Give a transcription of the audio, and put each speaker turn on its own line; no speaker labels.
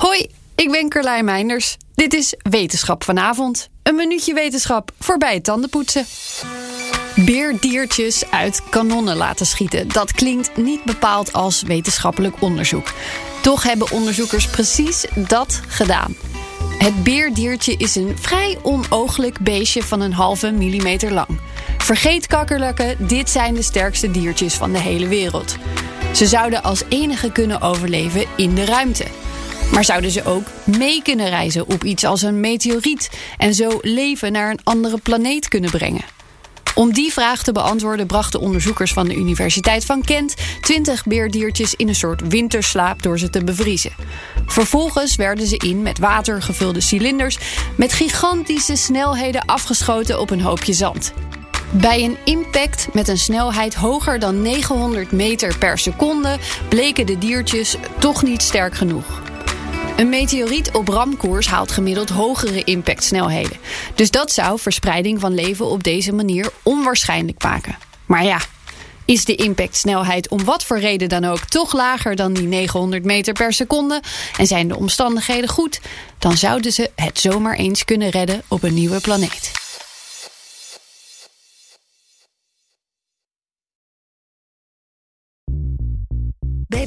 Hoi, ik ben Carlijn Meinders. Dit is Wetenschap vanavond. Een minuutje wetenschap voorbij het tandenpoetsen. Beerdiertjes uit kanonnen laten schieten. Dat klinkt niet bepaald als wetenschappelijk onderzoek. Toch hebben onderzoekers precies dat gedaan. Het beerdiertje is een vrij onooglijk beestje van een halve millimeter lang. Vergeet kakkerlakken, dit zijn de sterkste diertjes van de hele wereld. Ze zouden als enige kunnen overleven in de ruimte. Maar zouden ze ook mee kunnen reizen op iets als een meteoriet en zo leven naar een andere planeet kunnen brengen? Om die vraag te beantwoorden brachten onderzoekers van de Universiteit van Kent 20 beerdiertjes in een soort winterslaap door ze te bevriezen. Vervolgens werden ze in met water gevulde cilinders met gigantische snelheden afgeschoten op een hoopje zand. Bij een impact met een snelheid hoger dan 900 meter per seconde bleken de diertjes toch niet sterk genoeg. Een meteoriet op ramkoers haalt gemiddeld hogere impactsnelheden. Dus dat zou verspreiding van leven op deze manier onwaarschijnlijk maken. Maar ja, is de impactsnelheid om wat voor reden dan ook toch lager dan die 900 meter per seconde en zijn de omstandigheden goed, dan zouden ze het zomaar eens kunnen redden op een nieuwe planeet.
Bij